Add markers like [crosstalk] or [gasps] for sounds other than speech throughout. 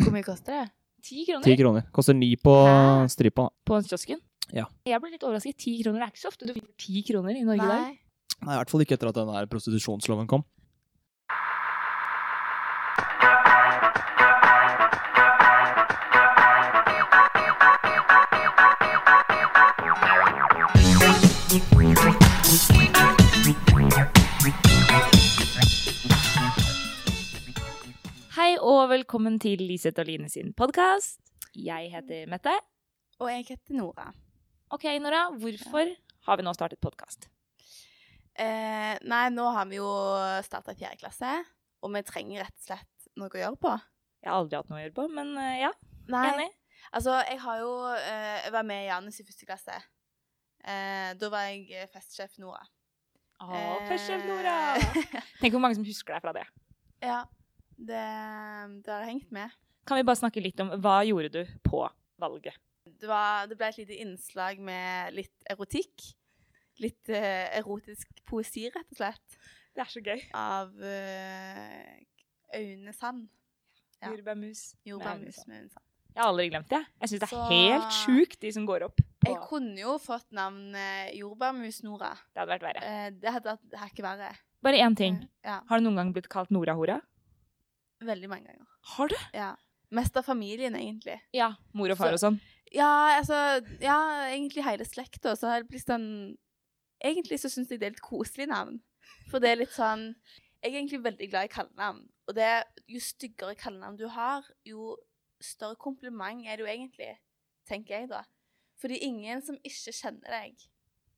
Hvor mye koster det? Ti kroner Ti kroner. Koster ni på Hæ? stripa. på kiosken. Ja. Jeg ble litt overrasket. Ti kroner er ikke så ofte du finner ti kroner i Norge i dag. Nei, I hvert fall ikke etter at den der prostitusjonsloven kom. Hei og velkommen til Liseth og Line sin podkast. Jeg heter Mette. Og jeg heter Nora. Ok, Nora, hvorfor har vi nå startet podkast? Eh, nei, nå har vi jo starta fjerde klasse, og vi trenger rett og slett noe å gjøre på. Jeg har aldri hatt noe å gjøre på, men eh, ja, Nei, enig. altså jeg har jo eh, Jeg var med i Janus i første klasse. Eh, da var jeg eh, festsjef Nora. Å, førstehjelp, Nora! Eh, [laughs] Tenk hvor mange som husker deg fra det. ja. Det, det har hengt med. Kan vi bare snakke litt om hva gjorde du på valget? det, var, det ble et lite innslag med litt erotikk. Litt eh, erotisk poesi, rett og slett, Det er så gøy. av eh, Aune Sand. Ja. Jordbærmus. Jordbærmus med Aune Sand. Jeg har aldri glemt det. Jeg syns det er Så- helt sjukt, de som går opp. På. Jeg kunne jo fått navnet Jordbærmus Nora. Det hadde vært verre. Eh, det hadde vært hakket verre. Eh, Bare én ting. Ja, Har du noen gang blitt kalt Nora-hora? veldig mange ganger. Har du? Ja. Mest av familien, egentlig. Ja. Mor og Så- far og sånn. Ja, altså, ja, egentlig hele slekta. Så har det blitt sånn Egentlig så syns jeg det er litt koselig navn. For det er litt sånn Jeg er egentlig veldig glad i kallenavn. Og det, jo styggere kallenavn du har, jo større kompliment er det jo egentlig, tenker jeg da. Fordi ingen som ikke kjenner deg,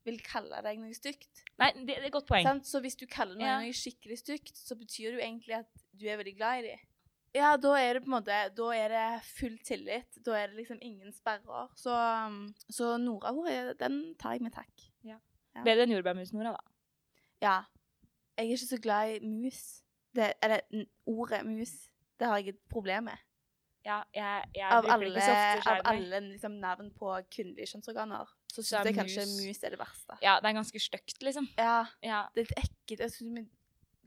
vil kalle deg noe stygt. Nei, det, det er et godt poeng. Sant? Så hvis du kaller noen Ja. noe skikkelig stygt, så betyr det jo egentlig at du er veldig glad i dem. Ja, da er det på en måte Da er det full tillit. Da er det liksom ingen sperrer. Så, um, så Nora, hun er- den tar jeg med takk. ja. Bedre enn jordbærmus, Nora, da. Ja. Jeg er ikke så glad i mus. Det, eller n- ordet mus. Det har jeg et problem med. Ja, jeg, jeg Av bruker det alle, ikke så ofte. av skjønner jeg. alle liksom, navn på kvinnelige kjønnsorganer, så Så er syns jeg kanskje mus- mus er det verste. Ja, det er ganske stygt, liksom. Ja, Ja, det er litt ekkelt. Jeg synes det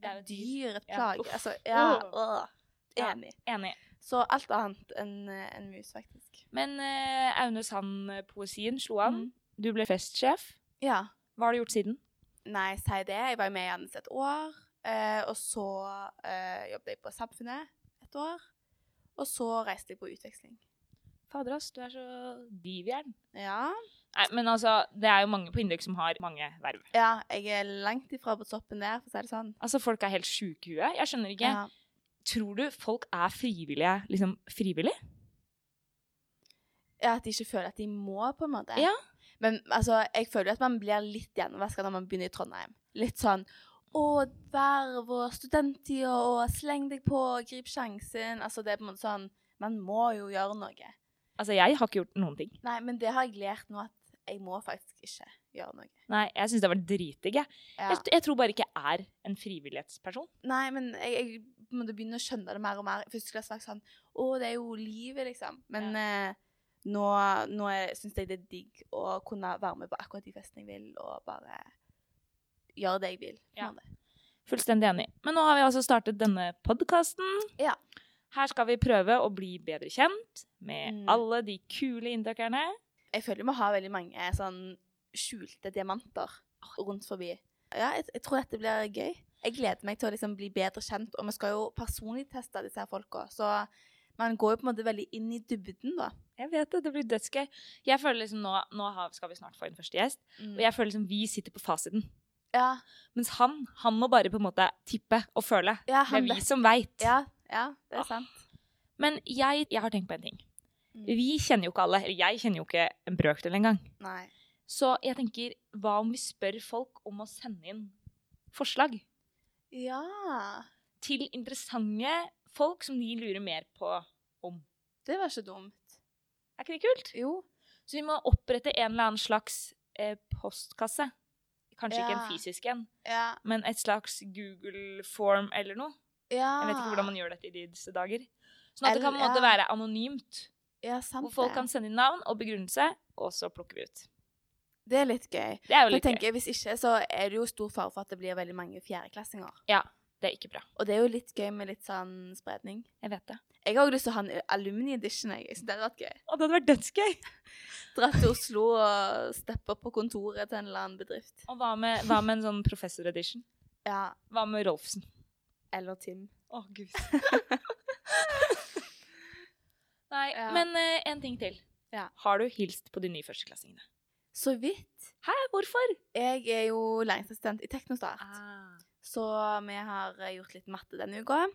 det er er jo et dyr. dyr, et Ja. plage. Uff. Altså, ja, Åh. øh. Ja. Enig. Enig. Så alt annet enn eh, enn mus, faktisk. Men eh, Aune Sand-poesien slo an. Mhm. Du ble festsjef. Ja. Hva har du gjort siden? Nei, si det. Jeg var jo med i Jannes et år. eh, og så eh, jobbet jeg på Samfunnet et år. Og så reiste jeg på utveksling. Fader, ass, du er så divjern. Ja. Nei, men altså, det er jo mange på Indøk som har mange verv. ja jeg er langt ifra på toppen der, for å si det sånn. Altså, folk er helt sjuke i huet. Jeg skjønner ikke. Ja. Tror du folk er frivillige, liksom frivillig? Ja, At de ikke føler at de må, på en måte. Ja. Men altså, jeg føler jo at man blir litt gjennomvaska når man begynner i Trondheim. Litt sånn å, verv og studenttida og sleng deg på, grip sjansen. Altså, det er på en måte sånn Man må jo gjøre noe. Altså, jeg har ikke gjort noen ting. Nei, men det har jeg lært nå at jeg må faktisk ikke gjøre noe. Nei, jeg syns det har vært dritdigg, jeg. Ja. Jeg, jeg tror bare ikke jeg er en frivillighetsperson. Nei, men jeg, jeg måtte begynne å skjønne det mer og mer. I Første klasse var jeg sånn Å, det er jo livet, liksom. Men eh, nå, nå syns jeg det er digg å kunne være med på akkurat de festene jeg vil, og bare gjøre det jeg vil. på en Ja. måte. Fullstendig enig. Men nå har vi altså startet denne podkasten. Ja. Her skal vi prøve å bli bedre kjent med Mm. alle de kule inndøkkerne. Jeg føler vi har veldig mange sånn skjulte diamanter rundt forbi. Ja, jeg, jeg tror dette blir gøy. Jeg gleder meg til å liksom bli bedre kjent, og vi skal jo personlig teste disse her folka. Så man går jo på en måte veldig inn i dybden, da. Jeg vet det, det blir dødsgøy. Jeg føler liksom nå, nå har, skal vi snart få inn første gjest, Mm. og jeg føler liksom vi sitter på fasiten. Ja, Mens han, han må bare på en måte tippe og føle. ja, Det han er vi vet. som veit. Ja, ja, det Ah. er sant. Men jeg, jeg har tenkt på en ting. Mm. Vi kjenner jo ikke alle, eller jeg kjenner jo ikke en brøkdel engang. Nei. Så jeg tenker, hva om vi spør folk om å sende inn forslag Ja. til interessante folk som de lurer mer på om? Det var ikke dumt. Er ikke det kult? Jo. Så vi må opprette en eller annen slags eh, postkasse. Kanskje ikke en Ja. fysisk en, Ja. men et slags Google-form eller noe. ja. Jeg vet ikke hvordan man gjør dette i disse dager. Sånn at det kan på en måte Eller- ja. være anonymt. Ja, sant Hvor folk det. kan sende inn navn og begrunnelse, og så plukker vi ut. Det er litt gøy. Det er jo For jeg litt gøy. tenker, Hvis ikke, så er det jo stor fare for at det blir veldig mange fjerdeklassinger. Det er ikke bra. Og det er jo litt gøy med litt sånn spredning. Jeg vet det. Jeg har også lyst til å ha en alumni edition. Jeg, jeg synes det hadde vært gøy. Å, det hadde vært dødsgøy! Dratt til Oslo og steppe opp på kontoret til en eller annen bedrift. Og hva med, hva med en sånn professor-edition? Ja, Hva med Rolfsen? eller Tim. Å, gud. [laughs] Nei, Ja. men eh, en ting til. Ja. Har du hilst på de nye førsteklassingene? Så vidt. Hæ, hvorfor? Jeg er jo læringsassistent i Teknostart. Ah. Så vi har eh, gjort litt matte denne uka.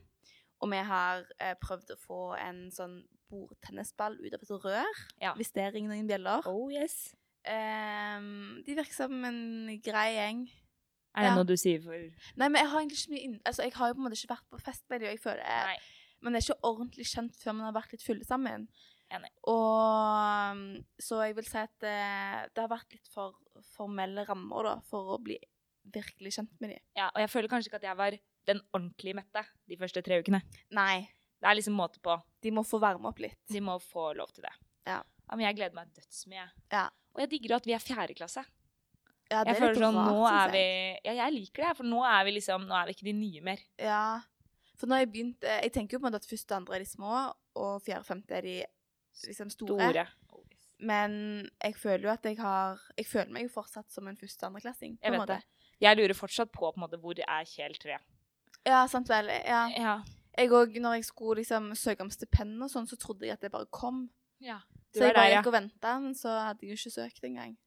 Og vi har eh, prøvd å få en sånn bordtennisball ut av et rør. Ja. Hvis det ringer noen bjeller. Oh yes. Ehm, de virker som en grei gjeng. Er det Ja. noe du sier for Nei, men jeg har egentlig ikke mye inn... Altså, jeg har jo på en måte ikke vært på fest med dem, og jeg føler Nei. Men det er ikke ordentlig kjent før man har vært litt fulle sammen. Enig. Og um, Så jeg vil si at eh, det har vært litt for formelle rammer, da, for å bli virkelig kjent med dem. Ja, og jeg føler kanskje ikke at jeg var den ordentlige Mette de første tre ukene. Nei, Det er liksom måte på. de må få varme opp litt. De må få lov til det. Ja. men jeg gleder meg dødsmye. jeg. Ja. Og jeg digger at vi er fjerde klasse. Ja, jeg føler sånn, nå synes er vi... Ja, jeg liker det, for nå er vi liksom, nå er vi ikke de nye mer. jeg. Ja. For nå har jeg begynt eh, Jeg tenker jo på en måte at første og andre er de små, og fjerde og femte er de liksom store. Store. Oh, yes. Men jeg føler jo at jeg har Jeg føler meg jo fortsatt som en første- og andreklassing. på Jeg en vet måte. det. Jeg lurer fortsatt på, på en måte, hvor er Kjell 3? Ja, sant vel. Ja. Ja. Jeg òg, når jeg skulle liksom søke om stipend og sånn, så trodde jeg at det bare kom. ja. Du Så jeg er der, bare ja. gikk og venta, men så hadde jeg jo ikke søkt engang.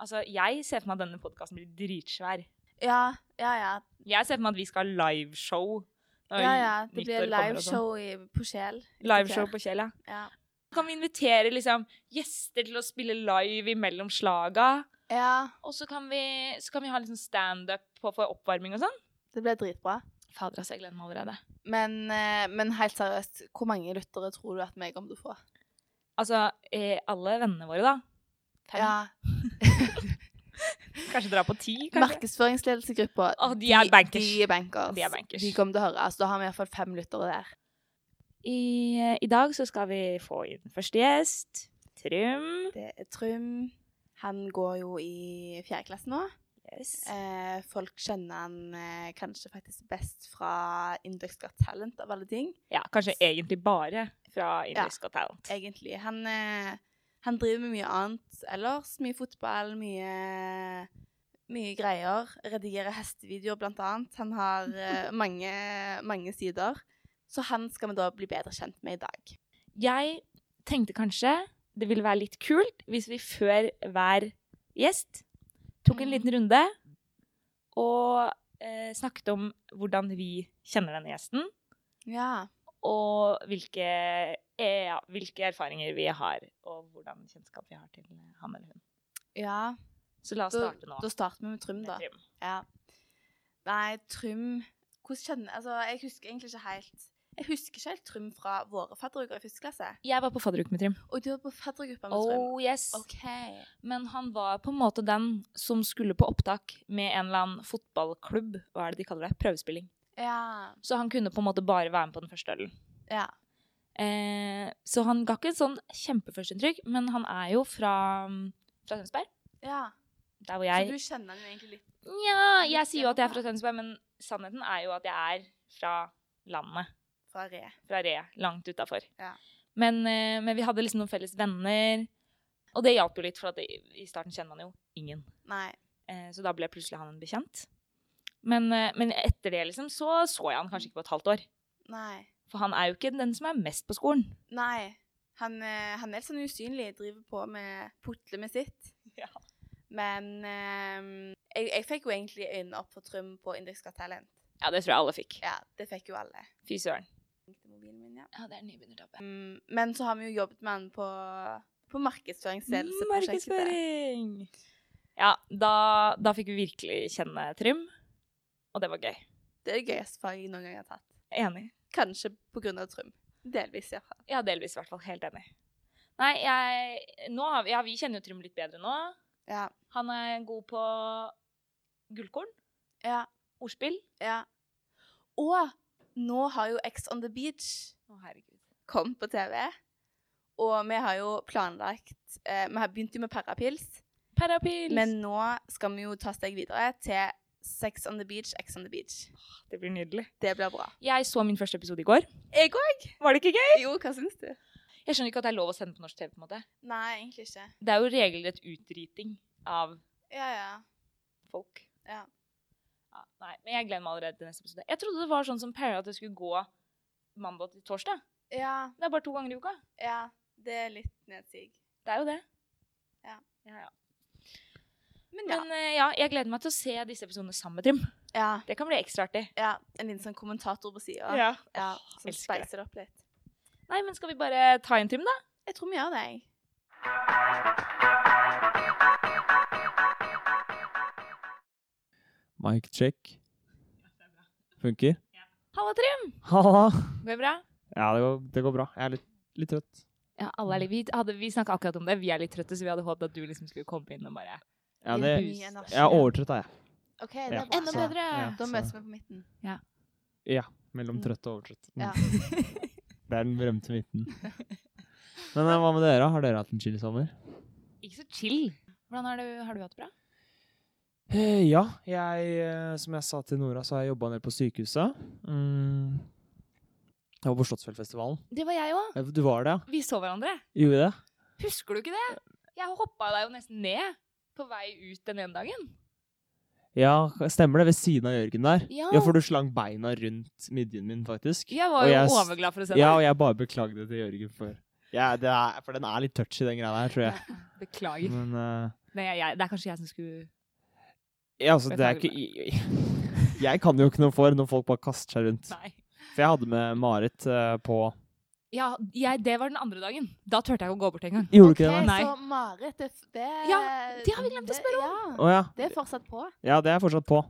Altså, jeg ser for meg at denne podcasten blir dritsvær. Ja, ja, ja. Jeg ser for meg at vi skal ha liveshow. når ja, ja. Det nyttår blir kommer og sånn. liveshow i- på Sjel. Liveshow på Kjell, ja. Ja. Kan vi invitere liksom, gjester til å spille live imellom slaga? ja. Og så kan vi, så kan vi ha liksom standup på- for oppvarming og sånn. Det blir dritbra. Fader, altså, jeg gleder meg allerede. Men, eh, men helt seriøst, hvor mange lyttere tror du at vi kommer til å få? Altså, eh, alle vennene våre, da. Fem. Ja. Kanskje dra på ti, kanskje. Markedsføringsledelsesgruppa, Å, de er bankers. De er bankers. De er bankers. De kommer til å høre. Altså, da har vi iallfall fem lyttere der. I, eh, I dag så skal vi få inn første gjest. Trym. Det er Trym. Han går jo i fjerde klasse nå. Yes. Eh, folk kjenner han eh, kanskje faktisk best fra Index Got Talent, av alle ting. Ja, kanskje egentlig bare fra Ja. Indisk Got Talent. Egentlig. Han, eh, han driver med mye annet ellers. Mye fotball, mye, mye greier. Redigerer hestevideoer, blant annet. Han [laughs] har eh, mange, mange sider. Så han skal vi da bli bedre kjent med i dag. Jeg tenkte kanskje det ville være litt kult hvis vi før hver gjest tok en Mhm. liten runde og eh, snakket om hvordan vi kjenner denne gjesten, Ja. og hvilke, eh, ja, hvilke erfaringer vi har, og hvordan kjennskap vi har til han eller hun. ja. Så la oss Da, starte nå. da starter vi med Trym, med da. Trym. Ja. Nei, Trym Hvordan kjenner Altså, jeg husker egentlig ikke helt Jeg husker ikke helt Trym fra våre fadderuker i første klasse. Jeg var på fadderuke med Trym. Og du var på faddergruppa med Trym. Oh yes. OK. Men han var på en måte den som skulle på opptak med en eller annen fotballklubb, hva er det de kaller det, prøvespilling. Ja. Så han kunne på en måte bare være med på den første ølen. Ja. Eh, så han ga ikke en sånn kjempeførsteinntrykk, men han er jo fra, mm, fra Tønsberg. ja. Der hvor Så jeg du kjenner han jo egentlig litt Nja, jeg litt sier jo at jeg er fra hjemmefra. Tønsberg, men sannheten er jo at jeg er fra landet. fra Re. Fra Re, langt utafor. Ja. Men, eh, men vi hadde liksom noen felles venner, og det hjalp jo litt, for at i- i starten kjenner man jo ingen. Nei. Eh, så da ble plutselig han en bekjent. Men, eh, men etter det, liksom, så så jeg han kanskje ikke på et halvt år. Nei. For han er jo ikke den som er mest på skolen. Nei. Han, eh, han er litt sånn usynlig, driver på med putler med sitt. Ja. Men eh, jeg, jeg fikk jo egentlig øynene opp for Trym på Index Got Talent. Ja, det tror jeg alle fikk. Ja, det fikk jo alle. Fy søren. Ringte mobilen min, ja. Ja, det er nybegynnertabbe. Mm, Men så har vi jo jobbet med han på, på markedsføringsledelsesprosjektet. Mm, Markedsføring! Ja, da, da fikk vi virkelig kjenne Trym, og det var gøy. Det er det gøyeste faget jeg noen gang har tatt. Enig. Kanskje pga. Trym. Delvis, i hvert fall. Ja, delvis i hvert fall. Helt enig. Nei, jeg nå har vi, Ja, vi kjenner jo Trym litt bedre nå. Ja. Han er god på gullkorn, Ja. ordspill. ja. Og nå har jo X on the Beach Å, herregud. kommet på TV. Og vi har jo planlagt eh, Vi har begynt jo med Parapils, Parapils. men nå skal vi jo ta steg videre til Sex on the beach, X on the beach. Det blir nydelig. Det blir bra. Jeg så min første episode i går. Jeg òg. Var det ikke gøy? Jo, hva syns du? Jeg skjønner ikke at det er lov å sende på norsk TV. på en måte. Nei, egentlig ikke. Det er jo regelrett utdriting av Ja, ja. folk. Ja. Ja, nei, men jeg gleder meg allerede til neste episode. Jeg trodde det var sånn som Perry at det skulle gå mandag til torsdag. Ja, Det er bare to ganger i uka. ja. Det er litt nedsig. Det er jo det. Ja. ja, ja. Men ja. Men eh, ja, jeg gleder meg til å se disse episodene sammen med Trym. ja. Det kan bli ekstra artig. Ja, En liten sånn kommentator på sida ja, som elsker det. speiser det opp litt. Nei, men skal vi bare ta en Trym, da? Jeg tror vi gjør det, jeg. Mic check. Funker? Halla, Trym! Halla! Går det bra? Ja, det går, det går bra. Jeg er litt, litt trøtt. Ja, alle er litt, vi hadde- vi snakka akkurat om det. Vi er litt trøtte, så vi hadde håpet at du liksom skulle komme inn og bare Ja, gi det, boost. Mye energi. jeg er overtrøtt, er jeg. OK, det Ja, er bra. Enda så- bedre. ja, Da så- møtes vi på midten. Ja. Mellom trøtt og overtrøtt. Mm. Ja. Det er den berømte midten. Men eh, hva med dere? Har dere hatt en chill sommer? Ikke så chill. Hvordan har du, har du hatt det bra? Eh, Ja, jeg, eh, som jeg sa til Nora, så har jeg jobba nede på sykehuset. Mm. Jeg var på Slottsfjellfestivalen. Det var jeg òg. Eh, Du var det, ja? Vi så hverandre. Gjorde det? Husker du ikke det? Jeg hoppa deg jo nesten ned på vei ut den ene dagen. Ja, stemmer det. Ved siden av Jørgen der. Ja. Ja, for du slang beina rundt midjen min, faktisk. Jeg var Og jo jeg s- overglad for å se deg. Ja, og jeg bare beklagde det til Jørgen for ja, det er, For den er litt touchy, den greia der, tror jeg. Beklager. Men eh, Nei, jeg, jeg, det er kanskje jeg som skulle ja, altså, det er ikke jeg- [laughs] Jeg kan jo ikke noe for når folk bare kaster seg rundt. Nei. For jeg hadde med Marit eh, på Ja, jeg, det var den andre dagen. Da turte jeg ikke å gå bort engang. Gjorde du Ok, ikke det? Nei. Så Marit, det, det Ja, det har vi glemt å det- spørre Å Ja, ja. det er fortsatt på. Ja, det er fortsatt på.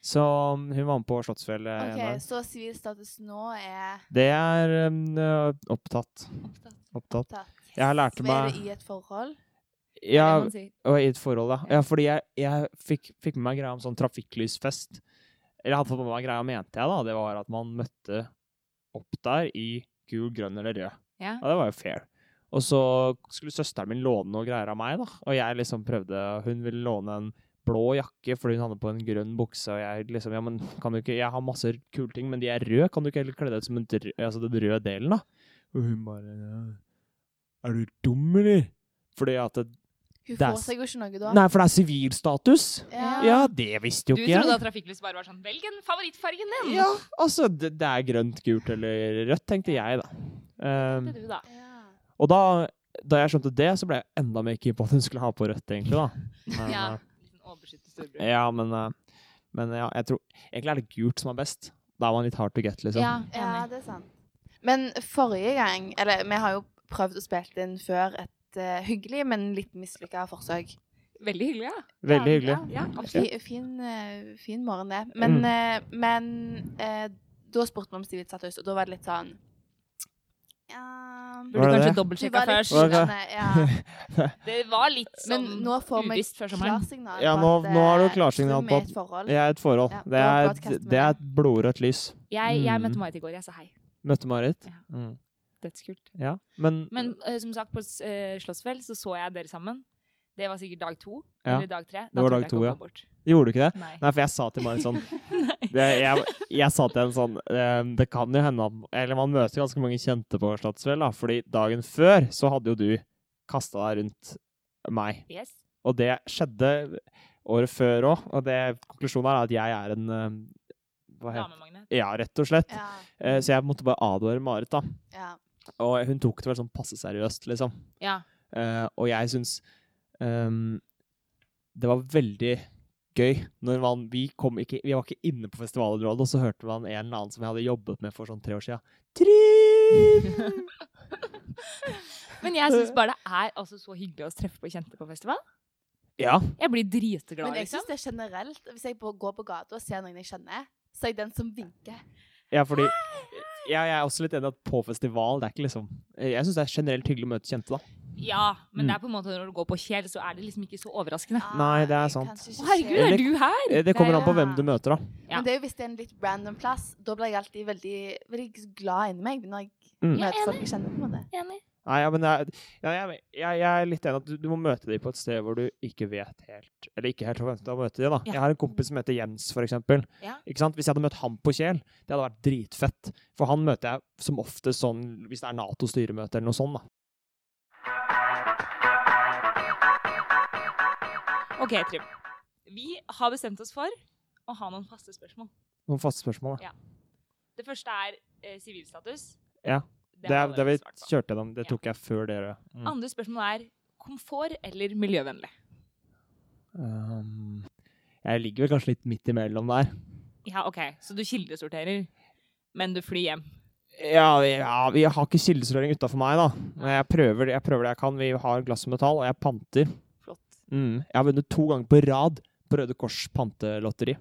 Så um, hun var med på Slottsfjell eh, en Ok, dag. Så sivil status nå er Det er um, eh, opptatt. Opptatt. tatt. Jeg har lært Så Er meg du i et forhold? ja, Det må man si. og I et forhold, da. Ja, fordi jeg, jeg fikk, fikk med meg greia om sånn trafikklysfest. Eller jeg hadde fått med meg greia, mente jeg, da. Det var at man møtte opp der i gul, grønn eller rød. Ja. Ja, det var jo fair. Og så skulle søsteren min låne noe greier av meg, da. Og jeg liksom prøvde Hun ville låne en blå jakke fordi hun hadde på en grønn bukse, og jeg liksom Ja, men kan du ikke Jeg har masse kule ting, men de er røde. Kan du ikke heller kle deg ut som en dr- altså, den røde delen, da? Og hun bare ja. Er du dum, eller? Fordi at det, Hun Det er får s- seg jo ikke noe da. Nei, for det er sivilstatus. Ja. Ja, det visste Du jo ikke trodde jeg. at trafikklys bare var sånn Velg en favorittfargen din! Ja, altså, det, det er grønt, gult eller rødt, tenkte jeg, da. Um, Det er du, da. Ja. Og da, da jeg skjønte det, så ble jeg enda mer keen på at hun skulle ha på rødt, egentlig, da. Men, Ja. eh, Liten overbeskyttet storebror. ja, men, eh, men ja, jeg tror Egentlig er det gult som er best. Da er man litt hard to get, liksom. Ja, Ja, enig. det er sant. Men forrige gang Eller vi har jo prøvd å spille inn før et eh, hyggelig, men litt mislykka forsøk. Veldig hyggelig, ja. Veldig Ja, hyggelig. ja absolutt. Fi, fin, eh, fin morgen, det. Men, Mm. eh, men eh, da spurte vi om Stivit satt høst, og da var det litt sånn ja, Burde det kanskje det? du dobbeltsjekka var litt først. Var det? slitne, [laughs] ja. Det var litt Men sånn nå får vi uvisst før sommeren. klarsignal. Ja, på nå- at, nå har du eh, klarsignal på Trym er at- et forhold. Jeg er et forhold. Ja, det, da er, broadcaster vi det er det. et blodrødt lys. Jeg, jeg Mm. møtte Marit i går. Jeg sa hei. Møtte Marit. Ja. Mm. Dødskult. Ja. Men, Men eh, som sagt, på uh, Slottsfjell så så jeg dere sammen. Det var sikkert dag to. Ja, Eller dag tre. det var turte dag jeg to, ikke å ja. gå bort. gjorde du ikke det? Nei. Nei, for jeg sa til Marit sånn [laughs] Nei. det, jeg, jeg sa til henne sånn ehm, Det kan jo hende at Eller man møter ganske mange kjente på Slottsfjell, da. Fordi dagen før så hadde jo du kasta deg rundt meg. Yes. Og det skjedde året før òg, og det, konklusjonen her er at jeg er en eh, Hva heter det? Damemagnet. Ja, rett og slett. Ja, Eh, Så jeg måtte bare advare Marit, da. ja. Og hun tok det vel sånn passe seriøst, liksom. Ja. Eh, Og jeg syns ehm, det var veldig gøy når man Vi kom ikke Vi var ikke inne på festivalområdet, og så hørte man en eller annen som jeg hadde jobbet med for sånn tre år sia. [laughs] Trym! Men jeg syns bare det er altså så hyggelig å treffe på kjente på festival. Ja. Jeg blir dritglad, Men jeg liksom. syns det er generelt. Hvis jeg går på gata og ser noen jeg kjenner, så er jeg den som vinker. Ja, fordi ja, Jeg er også litt enig at på festival det er ikke liksom Jeg syns det er generelt hyggelig å møte kjente, da. Ja, men Mm. det er på en måte når du går på Kjell, så er det liksom ikke så overraskende. Ah, [laughs] Nei, det er jeg sant. kan ikke Å, herregud, se- Eller- er du her? Eh, Det kommer er an på jo- Ja. hvem du møter, da. Ja. Men det er jo hvis det er en litt random plass, da blir jeg alltid veldig, veldig glad inni meg når jeg Mm. møter Ja, folk jeg kjenner. på en måte. Enig. Nei, ja, men jeg, ja, jeg, jeg, jeg er litt enig at du, du må møte dem på et sted hvor du ikke vet helt Eller ikke helt forventa å møte dem, da. Ja. Jeg har en kompis som heter Jens, for eksempel. Ja. Ikke sant? Hvis jeg hadde møtt ham på Kjel, det hadde vært dritfett. For han møter jeg som oftest sånn hvis det er Nato-styremøte eller noe sånt, da. OK, Trym. Vi har bestemt oss for å ha noen faste spørsmål. Noen faste spørsmål, da. Ja. Det første er eh, sivilstatus. Ja, Det, det, har er- det vi allerede svart på. kjørte gjennom, det Ja. tok jeg før dere. Mm. Andre spørsmål er komfort eller miljøvennlig? Um, jeg ligger vel kanskje litt midt imellom der. Ja, OK, så du kildesorterer, men du flyr hjem. Ja, ja vi har ikke kildesortering utafor meg, da. Men jeg prøver, jeg prøver det jeg kan. Vi har glass og metall, og jeg panter. Flott. Mm. Jeg har vunnet to ganger på rad på Røde Kors pantelotteri.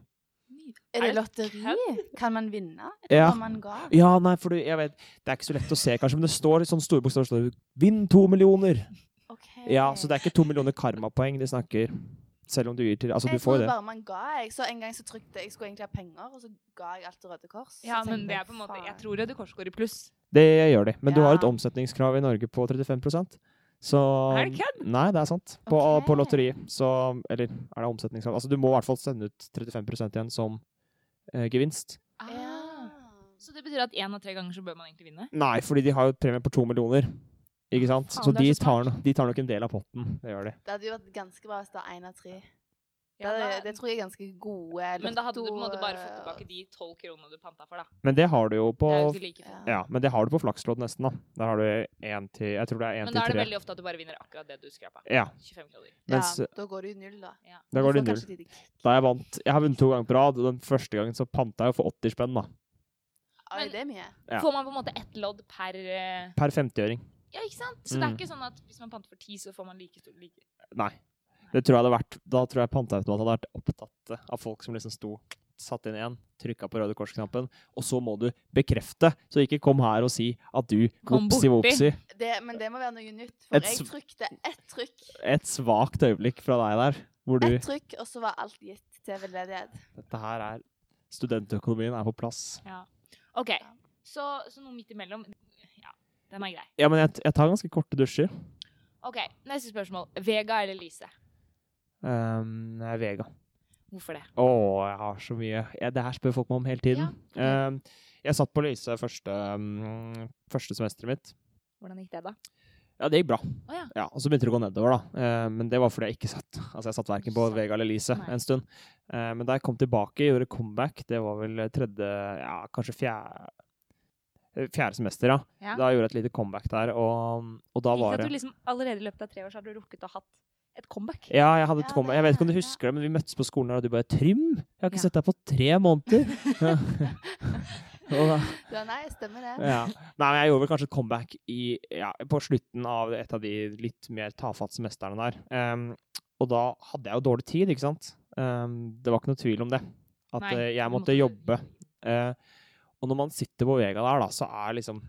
Er det Er det lotteri? Kan man vinne? Ja. Om man ga? ja, nei, for du, jeg vet Det er ikke så lett å se, kanskje, men det står i sånne store bokstaver står det, 'Vinn to millioner'. Ok. Ja, Så det er sånn ikke to millioner karmapoeng de snakker. Selv om du gir til Altså, du jeg får trodde jo det. bare man ga. Jeg. Så en gang så trykte jeg skulle egentlig ha penger, og så ga jeg alt til Røde Kors. Så Ja, tenkte men det jeg, er på en måte Jeg faen. tror Røde Kors går i pluss. Det gjør de. Men du har et Ja. omsetningskrav i Norge på 35 så Er det kødd? Nei, det er sant. På, Ok. på lotteriet. Så Eller er det omsetningskrav? Altså, du må i hvert fall sende ut 35 igjen som eh, gevinst. Ah. Ja. Så det betyr at én av tre ganger så bør man egentlig vinne? Nei, fordi de har jo et premie på to millioner. Ikke sant? Faen, så det er de, så tar, smart. no- de tar nok en del av potten. Det gjør de. Det hadde jo vært ganske bra hvis det var én av tre. Det, hadde, det tror jeg er ganske gode lotto... men da hadde du på en måte bare fått tilbake de tolv kronene du panta for, da. Men det har du jo på Det er jo ikke like fett. Ja. ja, men det har du på flakslodd nesten, da. Der har du én til Jeg tror det er én Men til da er det tre. veldig ofte at du bare vinner akkurat det du skrapa. Ja. 25 kroner. Mens ja, da går det jo null, da. Ja. da Du går det får null. kanskje de- Da jeg vant Jeg har vunnet to ganger på rad, og den første gangen så panta jeg jo for 80 spenn, da. Oi, Men- det er mye. Ja. Får man på en måte ett lodd per eh, Per 50-øring. Ja, ikke sant? Så det er Mm. ikke sånn at hvis man panter for ti, så får man like stor like. Nei. Det tror jeg hadde vært Da tror jeg panteautomaten hadde vært opptatt av folk som liksom sto satt inn igjen, trykka på Røde Kors-knappen, og så må du bekrefte, så ikke kom her og si at du Kom vopsi vopsi. borti. Det, men det må være noe nytt. For Et jeg sv- trykte ett trykk, Et svakt øyeblikk fra deg der, hvor du ett trykk, og så var alt gitt til veldedighet. Dette her er Studentøkonomien er på plass. OK, så, så noe midt imellom. Ja, den er grei. Ja, men jeg, jeg tar ganske korte dusjer. OK, neste spørsmål. Vega eller Lise? Um, jeg er vega. Hvorfor det? Å, jeg har så mye jeg, Det her spør folk meg om hele tiden. Um, jeg satt på Lyse første, um, første semesteret mitt. Hvordan gikk det, da? Ja, det gikk bra. ja. og så begynte det å gå nedover, da. Eh, men det var fordi jeg ikke satt Altså, jeg satt verken på Satt. Vega eller Elise Nei. en stund. Eh, men da jeg kom tilbake, gjorde comeback, det var vel tredje Ja, kanskje fjerde eh, Fjerde semester, ja. Ja. Da gjorde jeg et lite comeback der, og, og da Ikke var at det du liksom Allerede i løpet av tre år så har du rukket å ha hatt et comeback. ja, jeg, hadde et Ja, comeback. det jeg vet ikke om du er- husker det, men vi møttes på skolen der, og du bare 'Trym, jeg har ikke Ja. sett deg på tre [laughs] måneder'. og da, Ja, nei, stemmer det. [laughs] Ja. Nei, men jeg gjorde vel kanskje et comeback i, ja, på slutten av et av de litt mer tafatte semesterne der. Ehm, og da hadde jeg jo dårlig tid, ikke sant? Ehm, det var ikke noe tvil om det. At Nei, eh, jeg du måtte jobbe. Eh, og når man sitter på Vega der, da, så er liksom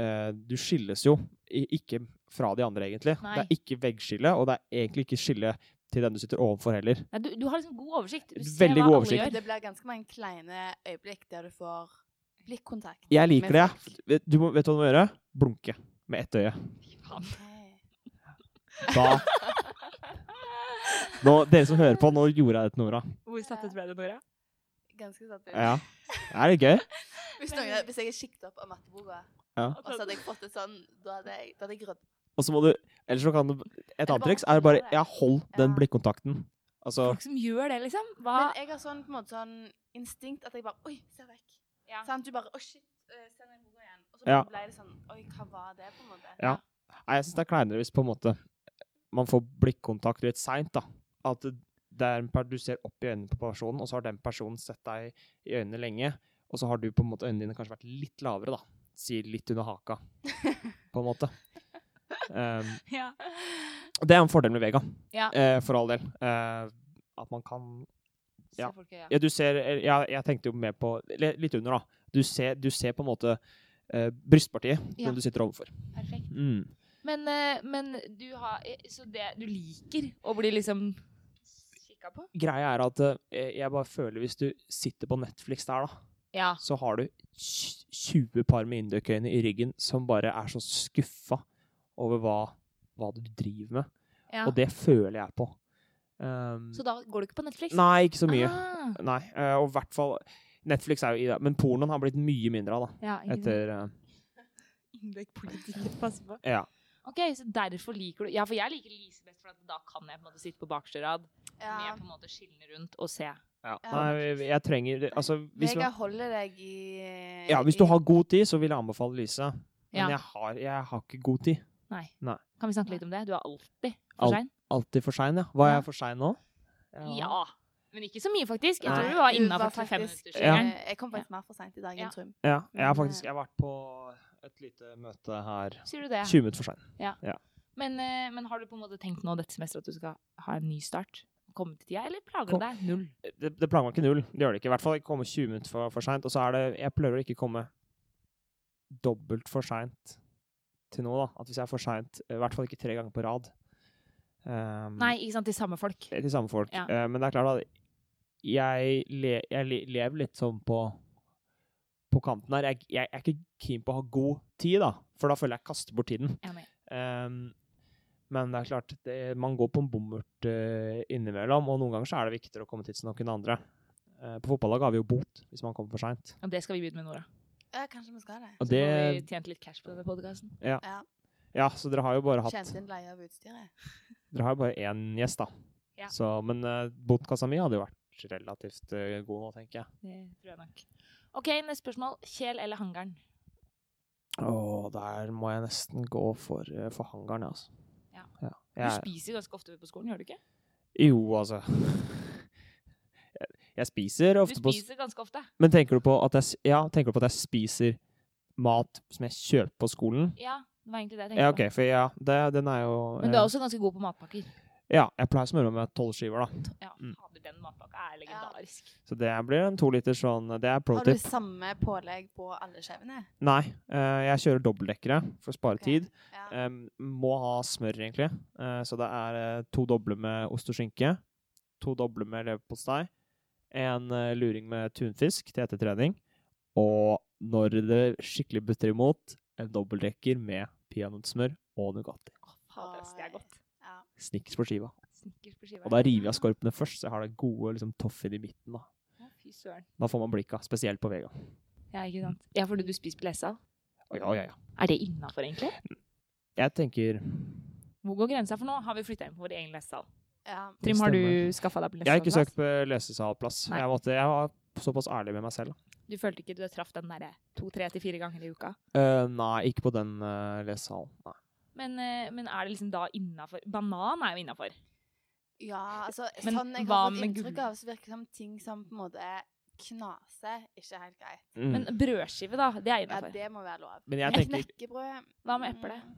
eh, Du skilles jo i- ikke fra de andre, egentlig. Nei. Det er ikke veggskille, og det er egentlig ikke skille til den du sitter overfor heller. Nei, du, du har liksom god oversikt. Du ser Veldig hva god alle oversikt. gjør. Det blir ganske mange kleine øyeblikk der du får blikkontakt. Jeg med liker det. folk. jeg. Vet- Du må, vet du hva du må gjøre? Blunke med ett øye. Ok. Da Nå, dere som hører på, nå gjorde jeg det til Nora. Hvor sattet ble det, Nora? Ganske satt ut. Ja. Det er litt gøy. Hvis, noen, hvis jeg er sjiktet opp av matteboka, Ja. og så hadde jeg fått et sånn, da hadde jeg, da hadde jeg grødd. Og så må du Ellers så kan du Et Eller annet bare triks er bare holde det. Ja, hold den Ja. blikkontakten. Altså Folk som gjør det, liksom. Hva? Men jeg har sånn, på en måte sånn instinkt at jeg bare, oi, se vekk. ja. Sant? Du bare, å shit, eh, se ned i boka igjen. Og så Ja. ble det sånn, oi, hva var det på en måte? Ja. Nei, jeg syns det er kleinere hvis på en måte man får blikkontakt litt seint, da. At det er en per, du ser opp i øynene på personen, og så har den personen sett deg i øynene lenge, og så har du på en måte øynene dine kanskje vært litt lavere, da. Si litt under [laughs] haka, på en måte. Um, [laughs] Ja. det er en fordel med Vega, Ja. eh, for all del. Eh, at man kan Se Ja. folk i øya. Ja, du ser eh, ja, Jeg tenkte jo mer på li- Litt under, da. Du ser, du ser på en måte eh, brystpartiet Ja. som du sitter overfor. Perfekt. Mm. Men, eh, men du har eh, Så det du liker å bli liksom kikka på? Greia er at eh, jeg bare føler hvis du sitter på Netflix der, da, Ja. så har du tj- 20 par med indøkøyne i ryggen som bare er så skuffa over hva, hva du driver med. Ja. Og det føler jeg på. Um, Så da går du ikke på Netflix? nei, ikke så mye. Ah, Nei, eh, og i hvert fall Netflix er jo i det, men pornoen har blitt mye mindre av, da. ja, Etter eh, Innlegg politikken passer på. Ja. Ok, så derfor liker du Ja, for jeg liker Lise best, for at da kan jeg på en måte sitte på bakerste rad med på en måte skillene rundt og se. Ja. Nei, jeg- jeg trenger Altså, hvis, Vegard man, holder deg i ja, hvis du har god tid, så vil jeg anbefale Lyse. Ja. Men jeg, har, jeg har ikke god tid. Nei. Nei. Kan vi snakke litt om det? Du er alltid Alt- for sein. Alltid for sein, ja. Var Ja. jeg for sein nå? Ja. Men ikke så mye, faktisk. Jeg tror Nei, du var du var innafor fem faktisk- minutter. Ja. skjønner jeg. Eh, Jeg kom faktisk mer for seint i dag Ja. enn Trym. Ja, jeg har Men, Mm. faktisk eh, jeg har vært på et lite møte her. Sier du det? 20 minutter for sein. Men, eh, men har du på en måte tenkt nå dette semesteret at du skal ha en ny start? Komme til tida, eller plager Kom- det deg? Null. Det, det plager meg ikke null. Det gjør det ikke. I hvert fall ikke komme 20 minutter for, for seint. Og så er det Jeg prøver å ikke komme dobbelt for seint til nå, da. At hvis jeg er for seint, i hvert fall ikke tre ganger på rad. Ehm, Nei, ikke sant, til samme folk. til samme folk. Ja. Eh, men det er klart at jeg, le, jeg le, lever litt sånn på på kanten her. Jeg, jeg, jeg er ikke keen på å ha god tid, da, for da føler jeg jeg kaster bort tiden. Enig. Ehm, men det er klart, det, man går på en bommert eh, innimellom, og noen ganger så er det viktigere å komme tidsnok enn andre. Eh, på fotballag har vi jo bot hvis man kommer for seint. Og det skal vi begynne med, Nora. Ja, kanskje vi skal det. Og Så det får vi tjent litt cash på denne podkasten. Ja. Ja, så dere har jo bare hatt Kjente inn leie av utstyret. Dere har jo bare én gjest, da. Ja. Så, men eh, botkassa mi hadde jo vært relativt eh, god nå, tenker jeg. Det tror jeg nok. OK, neste spørsmål. Kjel eller hangaren? Åh, der må jeg nesten gå for, eh, for hangaren, altså. Ja. Du Jeg, spiser ganske ofte på skolen, gjør du ikke? jo, altså. [laughs] Jeg- Jeg spiser Du ofte på s- spiser ganske ofte. Men tenker du på at jeg, s- ja, tenker du på at jeg spiser mat som jeg kjøper på skolen? Ja, det var egentlig det jeg tenkte Ja, OK, for ja, det, den er jo på. Men du er eh, også ganske god på matpakker. Ja, jeg pleier å smøre meg med tolv skiver, da. Ja, Mm. fader, den matpakka er legendarisk. Så det blir en toliter sånn Det er pro Har du tip. samme pålegg på alle skjevene? Nei, eh, jeg kjører dobbeltdekkere for å spare Ok. tid. Ja. Em, må ha smør, egentlig. Eh, så det er eh, to doble med ost og skinke. To doble med leverpostei. En eh, luring med tunfisk til etter trening. Og når det skikkelig butter imot, en dobbeltdekker med peanøttsmør og Nugatti. Å, fader, ass, det er godt. Ja. Snickers på skiva. Snickers på skiva. Og da river jeg av skorpene først, så jeg har det gode liksom, toffeen i midten. Da. Å, Fy søren. da får man blikka, spesielt på Vega. Ja, ikke sant. Ja, fordi du spiser på lesesal. Å, ja, ja, ja. Er det innafor, egentlig? Jeg tenker Hvor går grensa for nå? Har vi flytta inn på vår egen lesesal? ja. Trim, har Stemmer. du skaffa deg Jeg har ikke lesesalplass? søkt på lesesalplass. Nei. Jeg, måtte, jeg var såpass ærlig med meg selv. da. Du følte ikke du traff den derre to-tre til fire ganger i uka? Eh, nei, ikke på den uh, lesesalen. Nei. Men, eh, men er det liksom da innafor Banan er jo innafor. ja, altså Men sånn jeg hva har fått med inntrykk gull? av, så virker det som ting som på en måte knaser, ikke er helt greit. Mm. Men eh, brødskive, da, det er Ja, innafor. det må være lov. Men jeg Men tenker Knekkebrød Hva med eple? mm.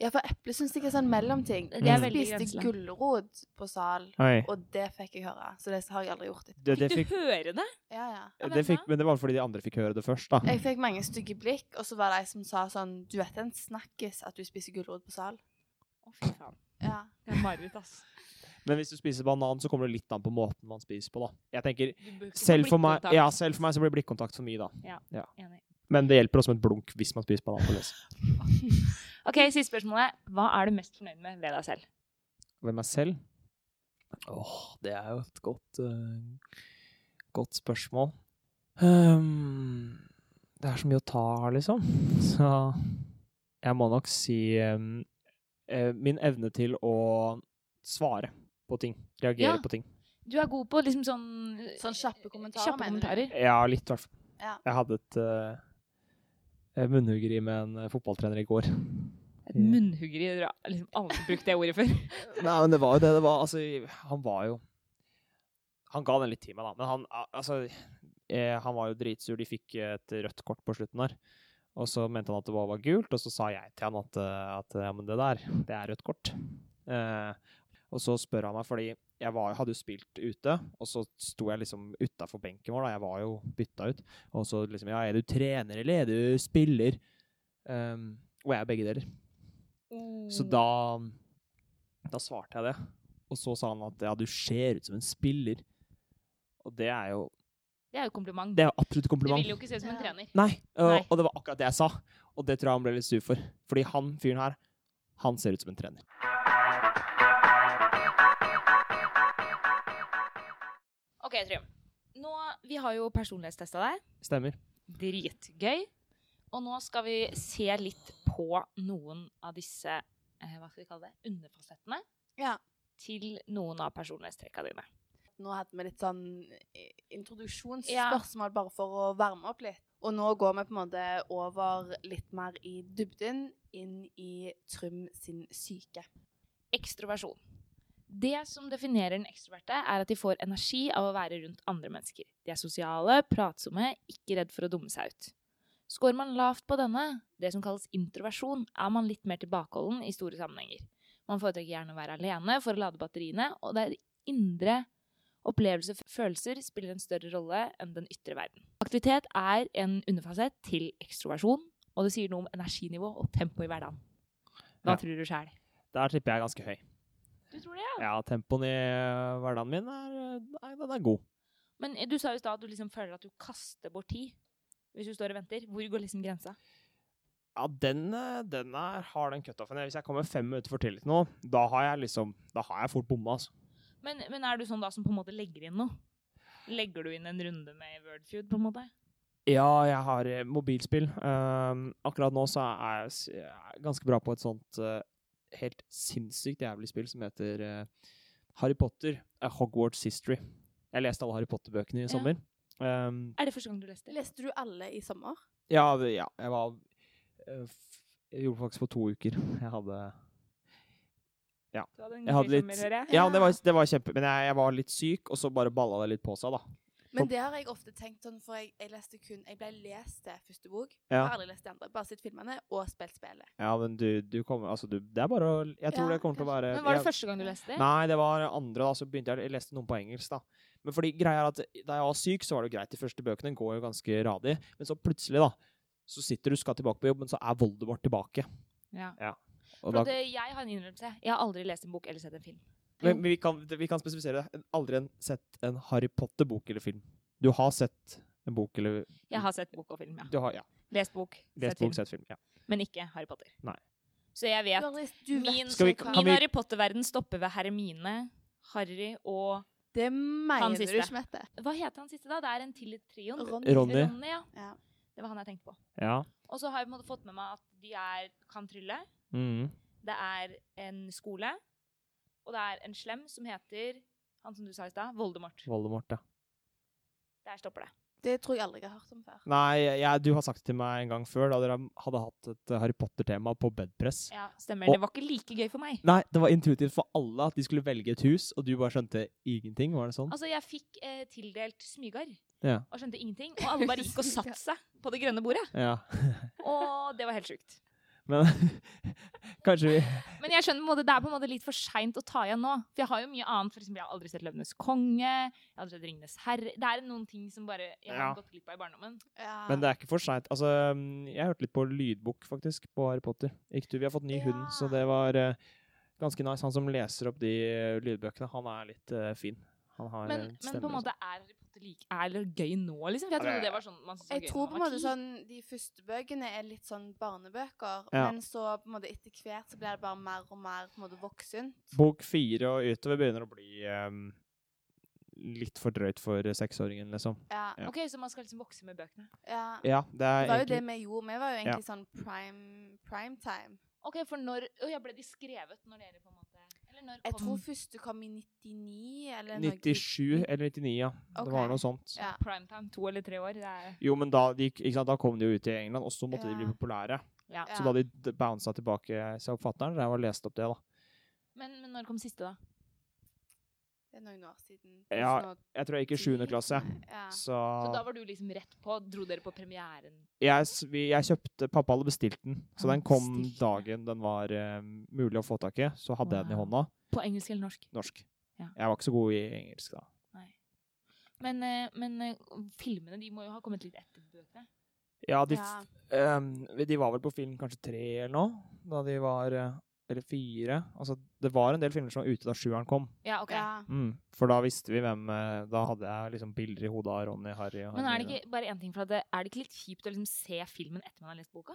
Ja, for eple syns jeg er sånn mellomting. Det er Jeg veldig spiste grenseland. gulrot på sal, Oi. og det fikk jeg høre. Så det har jeg aldri gjort. etterpå. Det, det, Fikk fikk, du høre det? Ja, ja. av det hvem fikk, da? men det var fordi de andre fikk høre det først, da. Jeg fikk mange stygge blikk, og så var det ei som sa sånn Du vet det er en snakkis at du spiser gulrot på sal? Å, fy faen. Ja. Det er mareritt, ass. Men hvis du spiser banan, så kommer det litt an på måten man spiser på, da. Jeg tenker, Du bør ikke få selv for, meg, blikkontakt. ja, selv for meg så blir blikkontakt for mye, da. Enig. [laughs] Men det hjelper også med et blunk hvis man spiser banan på lese. OK, siste spørsmålet. Hva er du mest fornøyd med ved deg selv? Ved meg selv? Åh, det er jo et godt eh, godt spørsmål. Ehm, det er så mye å ta av, liksom. [laughs] Så jeg må nok si ehm, eh, min evne til å svare på ting. Reagere Ja. på ting. Du er god på liksom sånn Sånn kjappe kommentarer, Kjappe mener du? kommentarer. Ja, litt i hvert fall. Ja. Jeg hadde et uh, munnhuggeri med en eh, fotballtrener i går. Et munnhuggeri. Dere har liksom aldri brukt det ordet før. Nei, men det var jo det det var. Altså, han var jo Han ga den litt tid med, da. Men han al- altså eh, Han var jo dritsur. De fikk eh, et rødt kort på slutten der. Og så mente han at det bare var gult, og så sa jeg til han at, eh, at ja, men det der, det er rødt kort. Eh, og så spør han meg, fordi jeg var, hadde jo spilt ute, og så sto jeg liksom utafor benken vår, da. Jeg var jo bytta ut. Og så liksom Ja, er du trener, eller er du spiller? Um, og jeg er begge deler. Mm. Så da, da svarte jeg det. Og så sa han at ja, du ser ut som en spiller. Og det er jo Det er jo kompliment. Det er jo absolutt Du kompliment. vil jo ikke se ut som en Ja. trener. Nei, og, Nei. og det var akkurat det jeg sa. Og det tror jeg han ble litt sur for. Fordi han fyren her, Han ser ut som en trener. OK, Trym. Nå, Vi har jo personlighetstesta deg. Stemmer. Dritgøy. Og nå skal vi se litt på noen av disse eh, hva skal vi kalle det, underfasettene Ja. til noen av personlighetstrekka dine. Nå hadde vi litt sånn eh, introduksjonsspørsmål bare for å varme opp litt. Og nå går vi på en måte over litt mer i dybden, inn i Trym sin syke. Ekstroversjon. Det som definerer den ekstroverte, er at de får energi av å være rundt andre mennesker. De er sosiale, pratsomme, ikke redd for å dumme seg ut. Skårer man lavt på denne, det som kalles introversjon, er man litt mer tilbakeholden i store sammenhenger. Man foretrekker gjerne å være alene for å lade batteriene, og der indre opplevelser og følelser spiller en større rolle enn den ytre verden. Aktivitet er en underfasett til ekstroversjon, og det sier noe om energinivå og tempo i hverdagen. Hva Ja. tror du sjæl? Der tipper jeg ganske høy. Du tror det, ja? Ja, tempoen i eh, hverdagen min er, eh, nei, den er god. Men du sa jo i stad at du liksom føler at du kaster bort tid hvis du står og venter. Hvor går liksom grensa? Ja, den, eh, den er, har den cutoffen. Hvis jeg kommer fem minutter for tidlig til noe, da har jeg liksom Da har jeg fort bomma, altså. Men, men er du sånn da som på en måte legger inn noe? Legger du inn en runde med Wordfeud, på en måte? Ja, jeg har eh, mobilspill. Ehm, akkurat nå så er jeg s- jeg er ganske bra på et sånt eh, helt sinnssykt jævlig spill som heter eh, Harry Potter A Hogwarts History. Jeg leste alle Harry Potter-bøkene i sommer. Ehm, Er det første gang du leste? Leste du alle i sommer? ja, det- ja, jeg var eh, f Jeg gjorde det faktisk på to uker. Jeg hadde Du hadde en Jeg hadde gøy litt- sommer, hører jeg. Ja, det var, det var kjempe... Men jeg, jeg var litt syk, og så bare balla det litt på seg, da. Men det har jeg ofte tenkt sånn, for jeg, jeg leste kun Jeg ble lest til første bok. Ja. Har aldri lest de andre. Bare sett filmene og spilt spillet. Ja, men du, du kommer Altså, du Det er bare å Jeg tror Ja, det kommer til å kanskje. være Men var jeg- det første gang du leste? Nei, det var andre, da. Så begynte jeg å leste noen på engelsk, da. Men fordi greia er at da jeg var syk, så var det jo greit. De første bøkene går jo ganske radig. Men så plutselig, da, så sitter du skal tilbake på jobb, men så er Voldemort tilbake. Ja. Og For da, at, eh, jeg har en innrømmelse. Jeg har aldri lest en bok eller sett en film. men men vi kan, vi kan spesifisere det. Aldri en, sett en Harry Potter-bok eller film. Du har sett en bok eller Jeg har sett bok og film, ja. Du har, ja. Lest bok, Lest sett film. bok, sett film. Ja. Men ikke Harry Potter. Nei. Så jeg Du vet har lest, du vet Min, sånn- Skal vi- ikke kan min hva- vi- Harry Potter-verden stopper ved Hermine, Harry og Det mener du siste. ikke, Mette. Hva heter han siste, da? Det er en til i trioen. Ronny. Ronny. Ronny, ja. Ja. Det var han jeg tenkte på. ja. Og så har jeg på en måte fått med meg at de er, kan trylle. Mm. Det er en skole. Og det er en slem som heter han som du sa i stad, Voldemort. Voldemort, ja. Der stopper det. Det tror jeg aldri jeg har hørt om før. Nei, jeg, du har sagt det til meg en gang før, da dere hadde hatt et eh, Harry Potter-tema på bedpress. Ja, stemmer. Og- Mm. Det var ikke like gøy for meg. Nei, det var intuitivt for alle at de skulle velge et hus, og du bare skjønte ingenting. Var det sånn? Altså, jeg fikk eh, tildelt smygar Ja. og skjønte ingenting. Og alle bare [laughs] gikk og satte seg på det grønne bordet. Ja. Og det var helt sjukt. Men [laughs] kanskje vi Men jeg skjønner på en måte, det er på en måte litt for seint å ta igjen nå. For jeg har jo mye annet. For eksempel, jeg har aldri sett 'Løvenes konge'. Jeg har aldri sett 'Ringenes herre'. Det er noen ting som bare jeg har Ja. gått glipp av i barndommen. [laughs] Ja. Men det er ikke for seint. Altså, mm, jeg hørte litt på lydbok, faktisk, på Harry Potter. Ikke du, vi har fått ny hund, så Ja. det var eh, ganske nice. Han som leser opp de eh, lydbøkene, han er litt eh, fin. Han har Men, eh, men på stemmer en og måte sånn. er Harry Potter like, er det gøy nå, liksom? For jeg trodde det var sånn man syntes var Jeg gøy tror når på en man var måte ti. sånn, De første bøkene er litt sånn barnebøker, Ja. men så på en måte etter hvert så blir det bare mer og mer på en måte voksent. Bok fire og utover begynner å bli eh, litt for drøyt for eh, seksåringen, liksom. Ja. ja. Ok, så man skal liksom vokse med bøkene. ja. Ja, det Det er var jo det egentlig vi gjorde. Vi var jo egentlig sånn prime, prime time. Ok, for når Å ja, ble de skrevet når dere på en måte Eller når Jeg kom tror første kom i 99 eller noe. 97 eller 99, ja. Ok. Det var noe sånt. Ja. primetime? To eller tre år? Det er Jo, men da, de, gikk- ikke sant, da kom de jo ut i England, og så måtte de Ja. bli populære. ja. Ja. Så da de d- bounsa tilbake seg oppfatteren, der var lest opp det, da. Men, men når kom siste, da? Det er noen år siden. Ja, Sånn at- Jeg tror jeg gikk i 7. klasse. Ja. Så Så da var du liksom rett på? Dro dere på premieren? jeg, s- vi, jeg kjøpte Pappa hadde bestilt den, så Han den kom bestilte. dagen den var eh, mulig å få tak i. Så hadde jeg den i Wow. hånda. På engelsk eller norsk? Norsk. Ja. Jeg var ikke så god i engelsk da. Men, eh, men eh, filmene de må jo ha kommet litt etter bøkene. Ja, de, Ja. f- ehm, de var vel på film kanskje tre eller noe, da de var eh, Eller fire. Altså, det var en del filmer som var ute da sjueren kom. Ja, ok. Ja. Mm. For da visste vi hvem eh, Da hadde jeg liksom bilder i hodet av Ronny, Harry og Men er det Hermine. ikke bare en ting for at det, er det ikke litt kjipt å liksom se filmen etter man har lest boka?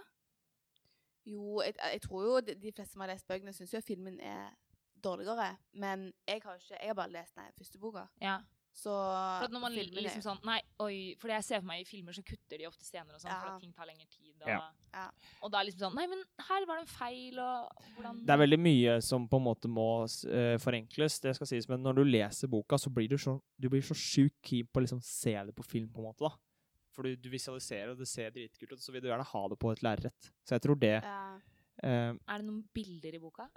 Jo, jeg, jeg tror jo de, de fleste som har lest bøkene, syns jo at filmen er dårligere. Men jeg har, ikke, jeg har bare lest den første boka. Ja. Så For at når man filmen er- liksom sånn Nei, oi. For jeg ser for meg i filmer så kutter de ofte scener og sånn, for Ja. at ting tar lengre tid. Og, Ja. Ja. og da er liksom sånn Nei, men her var det en feil, og hvordan Det er veldig mye som på en måte må eh, forenkles, det skal sies, men når du leser boka, så blir du så, du blir så sjukt keen på å liksom se det på film, på en måte, da. For du, du visualiserer, og det ser dritkult ut, så vil du gjerne ha det på et lerret. Så jeg tror det Ja. eh, Er det noen bilder i boka?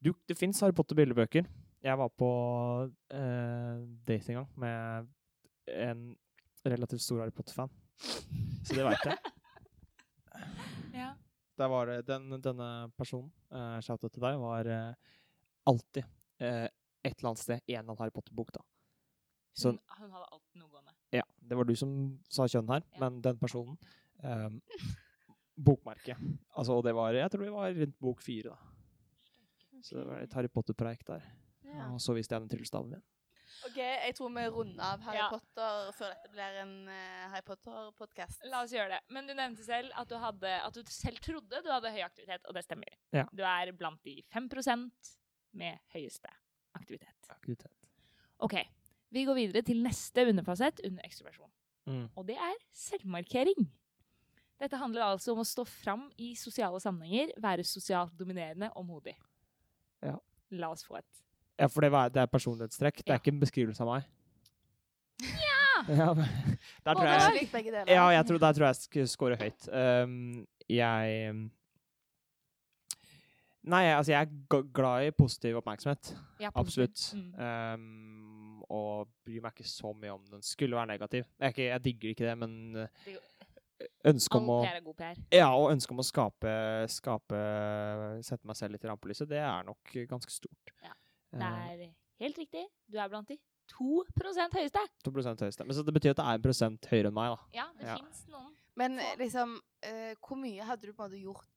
du, Det fins Harry Potter-bildebøker. Jeg var på eh, date en gang med en relativt stor Harry Potter-fan, så det veit jeg. Ja. Der var det den, denne personen, uh, shoutout til deg, var eh, alltid eh, et eller annet sted en eller annen Harry Potter-bok, da. Så Hun, hun hadde alltid noe gående. ja, det var du som sa kjønn her, Ja. men den personen eh, Bokmerke. Altså, og det var Jeg tror det var rundt bok fire, da. Så det var litt Harry Potter-preik der. Ja. Og så viste jeg den tryllestaven min. OK, jeg tror vi runder av Harry Ja. Potter før dette blir en eh, Harry Potter-podkast. La oss gjøre det. Men du nevnte selv at du, hadde, at du selv trodde du hadde høy aktivitet, og det stemmer. Ja. Du er blant de 5 med høyeste aktivitet. Aktivitet. OK. Vi går videre til neste underfasett under ekstroversjon, Mm. og det er selvmarkering. Dette handler altså om å stå fram i sosiale sammenhenger, være sosialt dominerende og modig. Ja. La oss få et. Ja, for det, var, det er personlighetstrekk. Det Ja. er ikke en beskrivelse av meg. [laughs] Ja! men- der tror Både jeg er likt begge deler. Ja, jeg tror, der tror jeg sk- scorer høyt. Ehm, jeg Nei, altså jeg er g- glad i positiv oppmerksomhet. Ja, positivt. Absolutt. Mm. Ehm, og bryr meg ikke så mye om den skulle være negativ. Jeg, er ikke, jeg digger ikke det, men eh, Det er ønsket All om å PR er god PR. ja, og ønsket om å skape, skape Sette meg selv litt i rampelyset, det er nok ganske stort. Ja. Det Eh, er helt riktig. Du er blant de 2 høyeste. 2% høyeste. Men så det betyr at det er en prosent høyere enn meg, da. Ja, det Ja. finnes noen. Men eh, liksom, eh, hvor mye hadde du på en måte gjort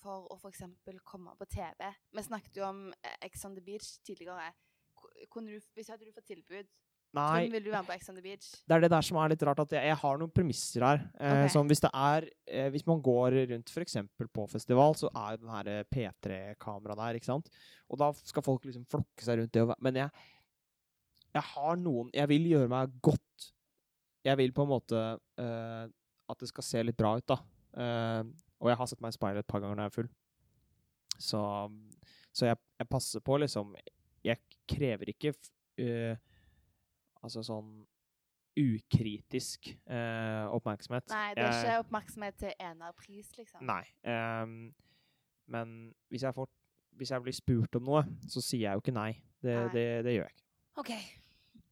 for å f.eks. komme på TV? Vi snakket jo om eh, Ex on the Beach tidligere. Ko- Kunne du, hvis hadde du fått tilbud, Nei. hvem ville du være med på Ex on the Beach? det er det der som er litt rart, at jeg, jeg har noen premisser her. Eh, Ok. Sånn hvis det er eh, Hvis man går rundt f.eks. på festival, så er jo den her eh, P3-kameraet der, ikke sant. Og da skal folk liksom flokke seg rundt det og væ- Men jeg, jeg har noen Jeg vil gjøre meg godt. Jeg vil på en måte eh, at det skal se litt bra ut, da. Eh, og jeg har sett meg i speilet et par ganger når jeg er full. Så, så jeg, jeg passer på, liksom. Jeg krever ikke f- eh, Altså sånn ukritisk eh, oppmerksomhet. Nei, det er Jeg- ikke oppmerksomhet til enerpris, liksom. Nei. ehm, men hvis jeg, får, hvis jeg blir spurt om noe, så sier jeg jo ikke nei. Det, Nei. det, det gjør jeg ikke. Ok.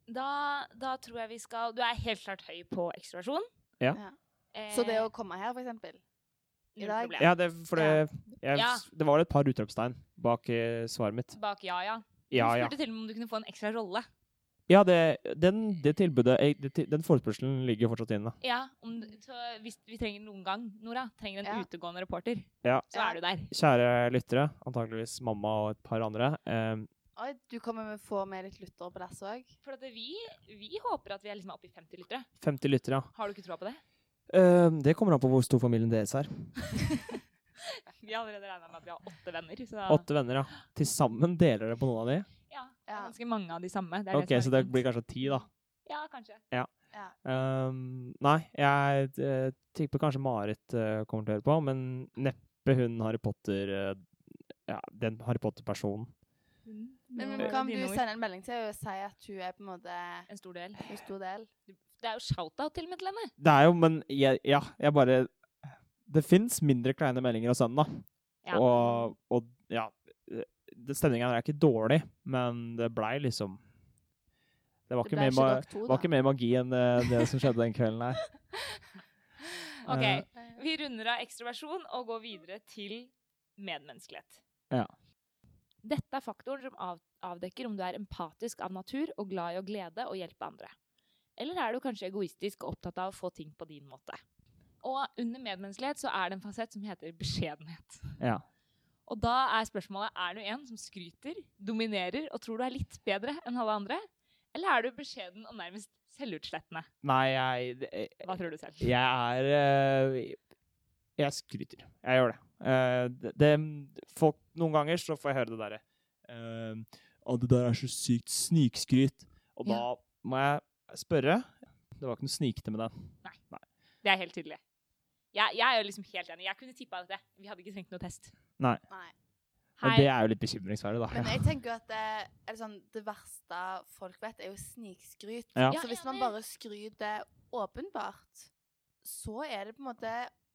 Da, da tror jeg vi skal Du er helt klart høy på ekstroversjon. Eh, Ja. Ja. Så det å komme her, for eksempel i dag- Ja, det, for det, jeg, Ja. det var et par utropstegn bak eh, svaret mitt. Bak ja, ja. Ja, Du ja. spurte til og med om du kunne få en ekstra rolle. ja det, den, det tilbudet jeg- det, til- Den forespørselen ligger fortsatt inne. Ja, om, du- så hvis vi trenger noen gang, Nora, trenger en Ja. utegående reporter, Ja. så Ja. er du der. Kjære lyttere, antakeligvis mamma og et par andre. ehm, Oi, du kommer med få med litt lyttere på dass òg? For at vi, vi håper at vi er liksom oppe i 50 lyttere. 50 lyttere, ja. Har du ikke troa på det? Ehm, det kommer an på hvor stor familien deres er. Vi har allerede regna med at vi har åtte venner. Så Åtte venner, ja. Til sammen deler dere på noen av de? ja, det er Ja. ganske mange av de samme. Det er Ok, det så som er det fint. blir kanskje ti, da. Ja, kanskje. Ja. Ehm, nei, jeg eh, tipper kanskje Marit eh, kommer til å høre på, men neppe hun Harry Potter eh, Ja, den Harry Potter-personen. Men, Nå men Eh, var kan det du dine ord. sende en melding til henne og si at hun er på en måte En stor del. en stor del? Det er jo shout-out til og med til henne. Det er jo, men jeg, ja, jeg bare Det fins mindre kleine meldinger å sende, da. Ja. Og, og ja det- Stemningen er ikke dårlig, men det blei liksom Det var, Det ikke ble mer, ikke ma nok to, var da. [gasps] ikke mer magi enn eh, det som skjedde den kvelden her. [laughs] Ok, Eh, vi runder av ekstroversjon og går videre til medmenneskelighet. Ja. Dette er faktoren som av avdekker om du er empatisk av natur og glad i å glede og hjelpe andre. Eller er du kanskje egoistisk og opptatt av å få ting på din måte. Og under medmenneskelighet så er det en fasett som heter beskjedenhet. ja. Og da er spørsmålet er du en som skryter, dominerer og tror du er litt bedre enn alle andre? Eller er du beskjeden og nærmest selvutslettende? Nei, jeg, det- Hva tror du selv? Jeg er eh, Jeg skryter. Jeg gjør det. Eh, det, det, folk, noen ganger så får jeg høre det derre eh, Å, det der er så sykt snikskryt. Og da Ja. må jeg spørre. Det var ikke noe snikete med den. Det er helt tydelig. Jeg, jeg er jo liksom helt enig. Jeg kunne tippa dette. Vi hadde ikke trengt noe test. Nei. Og det er jo litt bekymringsverdig, da. Men jeg tenker at det, eller sånn, det verste folk vet, er jo snikskryt. Ja. Ja, Så hvis man enig. bare skryter åpenbart, så er det på en måte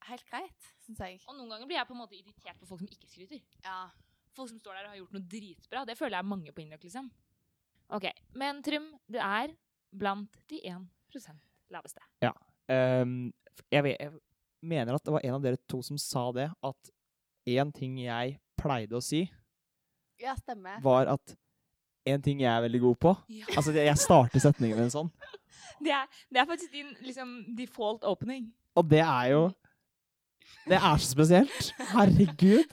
helt greit, syns jeg. Og noen ganger blir jeg på en måte irritert på folk som ikke skryter. Ja. Folk som står der og har gjort noe dritbra. Det føler jeg er mange på Indok, liksom. Ok, Men Trym, du er blant de 1 laveste. Ehm, jeg, ve- jeg mener at det var en av dere to som sa det, at én ting jeg pleide å si, ja, stemmer. var at en ting jeg er veldig god på Altså, jeg jeg starter setningen min sånn. Det, er, det er faktisk din liksom, default opening. Og det er jo Det er så spesielt. Herregud,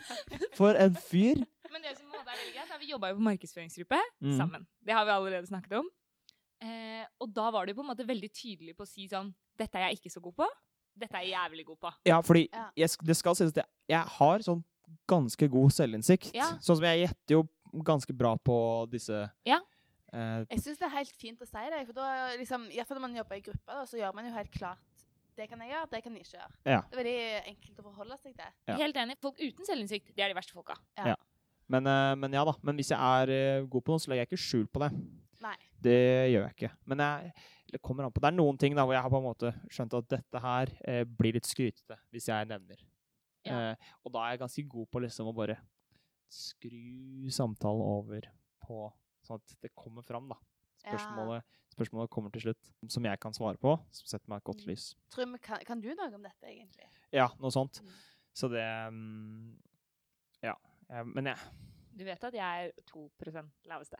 for en fyr. Men det som på en måte er veldig greit, er at vi jobba jo på markedsføringsgruppe Mm. sammen. Det har vi allerede snakket om. Eh, og da var du på en måte veldig tydelig på å si sånn Dette er jeg ikke så god på. Dette er jeg jævlig god på. Ja, fordi Ja. jeg, sk- det skal sies at jeg, jeg har sånn ganske god selvinnsikt. Ja. Sånn som jeg gjetter jo ganske bra på disse Ja. eh, Jeg syns det er helt fint å si det. For da, liksom, i hvert fall når man jobber i gruppe, da, så gjør man jo helt klart det kan jeg gjøre, det kan jeg ikke gjøre. Ja. Det er veldig enkelt å forholde seg til. Ja. Helt enig. Folk uten selvinnsikt, det er de verste folka. men, eh, men ja da. Men hvis jeg er eh, god på noe, så legger jeg ikke skjul på det. Nei. Det gjør jeg ikke. Men jeg det kommer an på. Det er noen ting da hvor jeg har på en måte skjønt at dette her eh, blir litt skrytete hvis jeg nevner. Ja. Eh, og da er jeg ganske god på liksom å bare skru samtalen over på sånn at det kommer fram, da. Ja. Spørsmålet, spørsmålet kommer til slutt, som jeg kan svare på, som setter meg i et godt Mm. lys. Trym, kan, kan du noe om dette, egentlig? Ja, noe sånt. Mm. Så det mm, Ja. Eh, Men jeg Du vet at jeg er 2 laveste.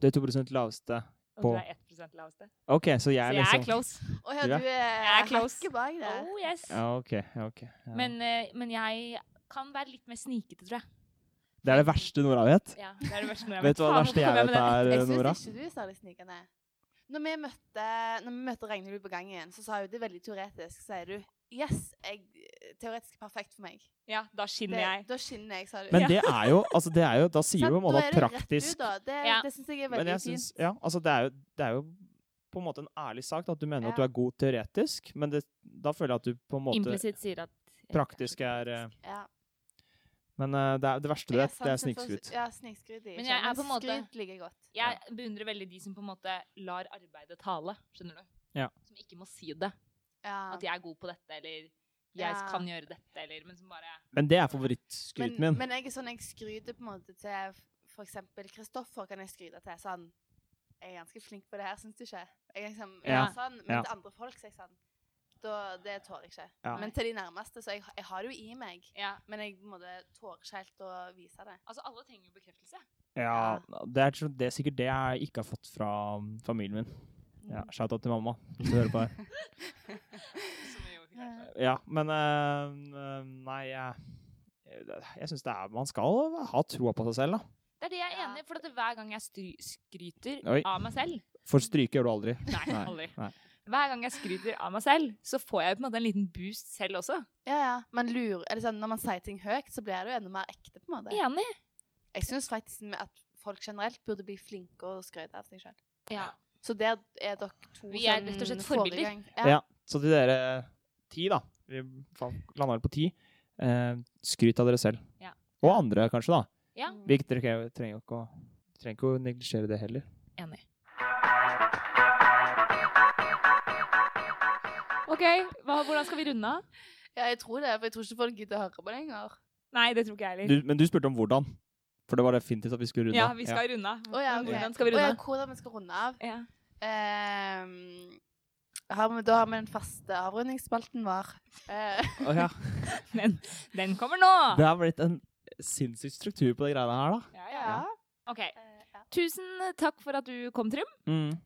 Det er 2 laveste Og På- du er 1 laveste. OK, så jeg Så er jeg er liksom close. Å ja, Ja. du eh, er, Jeg er close. hakket bak der. Oh yes. Ja, OK. ja, ok. Ja. Men, eh, men jeg kan være litt mer snikete, tror jeg. det er det verste Nora vet. Ja, det er det verste når jeg Vet du hva det Faen, hvorfor verste kom med jeg vet den? er, eh, Jeg Nora? syns ikke du er særlig snikende. Når vi møtte, når vi møtte Ragnhild på gangen, så sa hun det er veldig teoretisk. Så sier du yes, jeg, teoretisk perfekt for meg. Ja, da Det, skinner jeg. Da skinner jeg, sa du. Men det er jo altså det er jo, Da sier du på en måte at praktisk Da. Det, Ja. det syns jeg er Men veldig jeg fint. syns Ja, altså det er jo, det er jo på en måte en ærlig sak da, at du mener at du Ja. er god teoretisk, men det, da føler jeg at du på en måte Implisitt sier at jeg praktisk ikke er så eh, praktisk. Ja. Men eh, det, er, det verste du Ja, vet, det er sant, for- snikskryt. Ja, snikskryt. Men jeg er på en måte- Skryt liker jeg godt. Jeg beundrer veldig de som på en måte lar arbeidet tale, skjønner du? Ja. Som ikke må si det. Ja. At jeg er god på dette, eller jeg Ja. kan gjøre dette, eller Men som bare Men det er favorittskryten men, min. men jeg er sånn, jeg skryter på en måte til for eksempel Kristoffer kan jeg skryte til sånn Jeg er ganske flink på det her, syns du ikke? Jeg er liksom, Ja, sånn, men ja. til andre folk så er jeg sånn da, Det tåler jeg ikke. Ja. Men til de nærmeste, så jeg, jeg har det jo i meg. Ja. Men jeg på en måte tåler ikke helt å vise det. Altså, alle trenger jo bekreftelse. ja, det er, tro- det er sikkert det jeg ikke har fått fra mm, familien min. Mm. Ja, Shout-out til mamma. Hvis du hører på her. Som vi jo ikke Ja. Ja, men eh, eh, Nei, jeg, jeg syns det er Man skal ha troa på seg selv, da. Det er det jeg er Ja. enig i, for at hver gang jeg stry skryter Oi. av meg [laughs] selv For stryke gjør du aldri. Nei, Nei, aldri. nei. Hver gang jeg skryter av meg selv, så får jeg på en måte en liten boost selv også. Ja, ja. Man lurer, eller sånn, når man sier ting høyt, så blir det jo enda mer ekte. på en måte. Enig. Jeg syns faktisk at folk generelt burde bli flinke å skryte av seg sjøl. Ja. Så der er dere to Vi er sånn rett og slett foregang. forbilder. Ja. Ja. Så til dere eh, ti, da. Vi landa vel på ti. Eh, skryt av dere selv. Ja. Og andre, kanskje, da. Ja. Mm. Vi trenger trenger jo ikke å, trenger ikke å neglisjere det heller. Enig. OK, hva, hvordan skal vi runde av? Ja, jeg tror det, for jeg tror ikke folk gidder å høre på det lenger. Nei, det tror ikke jeg Du, men du spurte om hvordan. For det var definitivt at vi skulle runde. Ja, av. vi skal runde av. Å ja, Men ok. Hvordan Mm. skal vi Å runde ja, av? hvordan vi skal runde av. Ja. Ehm, har vi, da har vi den faste avrundingsspalten vår. Eh, Å ja. Men den kommer nå! Det har blitt en sinnssyk struktur på de greiene her, da. [laughs] Ja, ja. ja. OK. Eh, ja. Tusen takk for at du kom, Trym. Mm.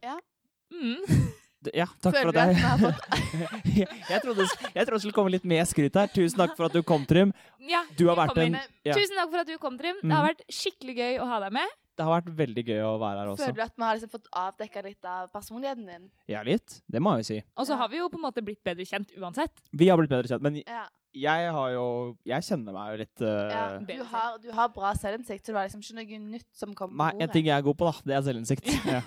[laughs] D- Ja, takk Føler for du at at vi har jeg [laughs] fått jeg, jeg trodde det sk- jeg trodde det skulle komme litt mer skryt her. Tusen takk for at du kom, Trym. Ja, Du har vi vært kommer. en- ja. Tusen takk for at du kom, Trym. Det har vært skikkelig gøy å ha deg med. Det har vært veldig gøy å være her også. Føler du at vi har liksom fått avdekka litt av personligheten din? Ja, litt. Det må jeg jo si. Og så Ja. har vi jo på en måte blitt bedre kjent uansett. Vi har blitt bedre kjent, men Ja. jeg har jo Jeg kjenner meg jo litt eh, Ja, du, har, du har bra selvinnsikt, så det var liksom ikke noe nytt som kom på Nei, en ting jeg er god på, da, det er selvinnsikt. [laughs] Ja.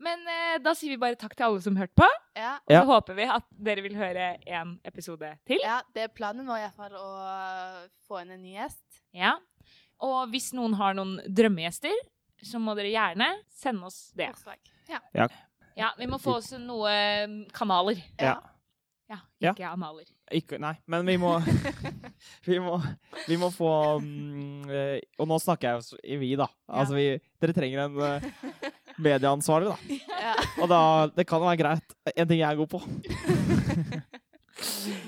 Men eh, da sier vi bare takk til alle som hørte på. Ja, Og Ja. så håper vi at dere vil høre en episode til. ja, det er planen vår i hvert fall å øh, få inn en ny gjest. Ja. Og hvis noen har noen drømmegjester, så må dere gjerne sende oss det. Forslag. Ja. Ja, Vi må få oss noe mm, kanaler. Ja. Ja, Ja. ikke analer. Ikke, nei, men vi [laughs] må Vi må, vi må få mm, eh, Og nå snakker jeg jo s- i vi, da. Altså, vi, dere trenger en eh, [laughs] medieansvarlig, da. Ja. Og da, det kan være greit. En ting jeg er god på.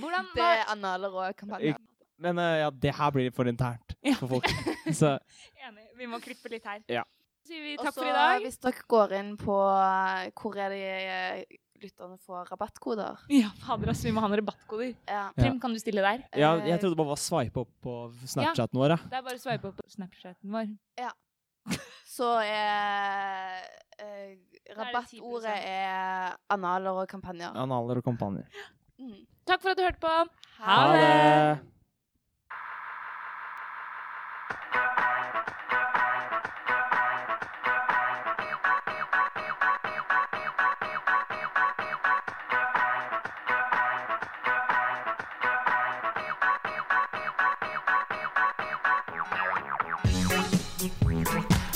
Hvordan Det var er analer og kampanjer. Men eh, ja, det her blir for internt for folk. [laughs] Så Enig. Vi må klippe litt her. Ja. Så sier vi Og takk så for i dag. hvis dere går inn på eh, hvor er det eh, lytterne får rabattkoder Ja, fader ass, vi må ha noen rabattkoder. ja. Ja. Trym, kan du stille der? ja, eh, jeg trodde det bare var å sveipe opp på Snapchaten vår. Ja. Det er bare å sveipe opp på Snapchaten vår. Eh, Så er eh, rabattordet er analer og kampanjer. Analer og kampanjer. Mm. Takk for at du hørte på. Ha det!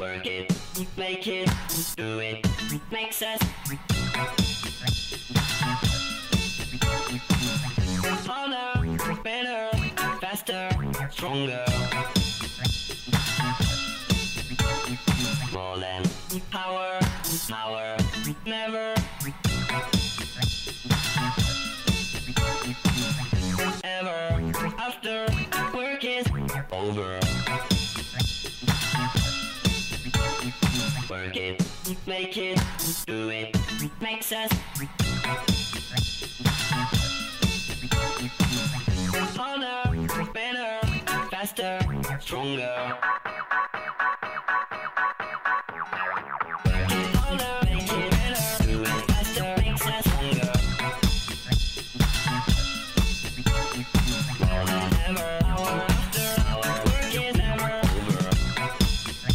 Work it, make it, do it, makes us. Harder, better, faster, stronger. More than power, power, never. Ever after work is over. Work it, make it, do it, makes us. Harder, better, faster, stronger. Work it harder, make it better, do it faster, makes us stronger. More than ever, hour after hour, work is never over.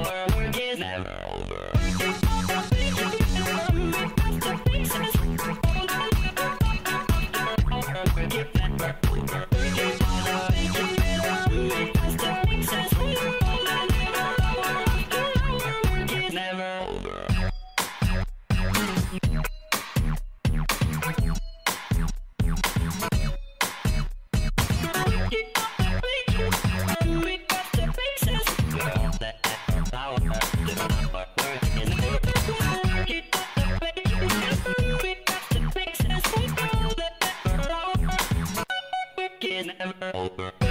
Never over. Never over. Never over.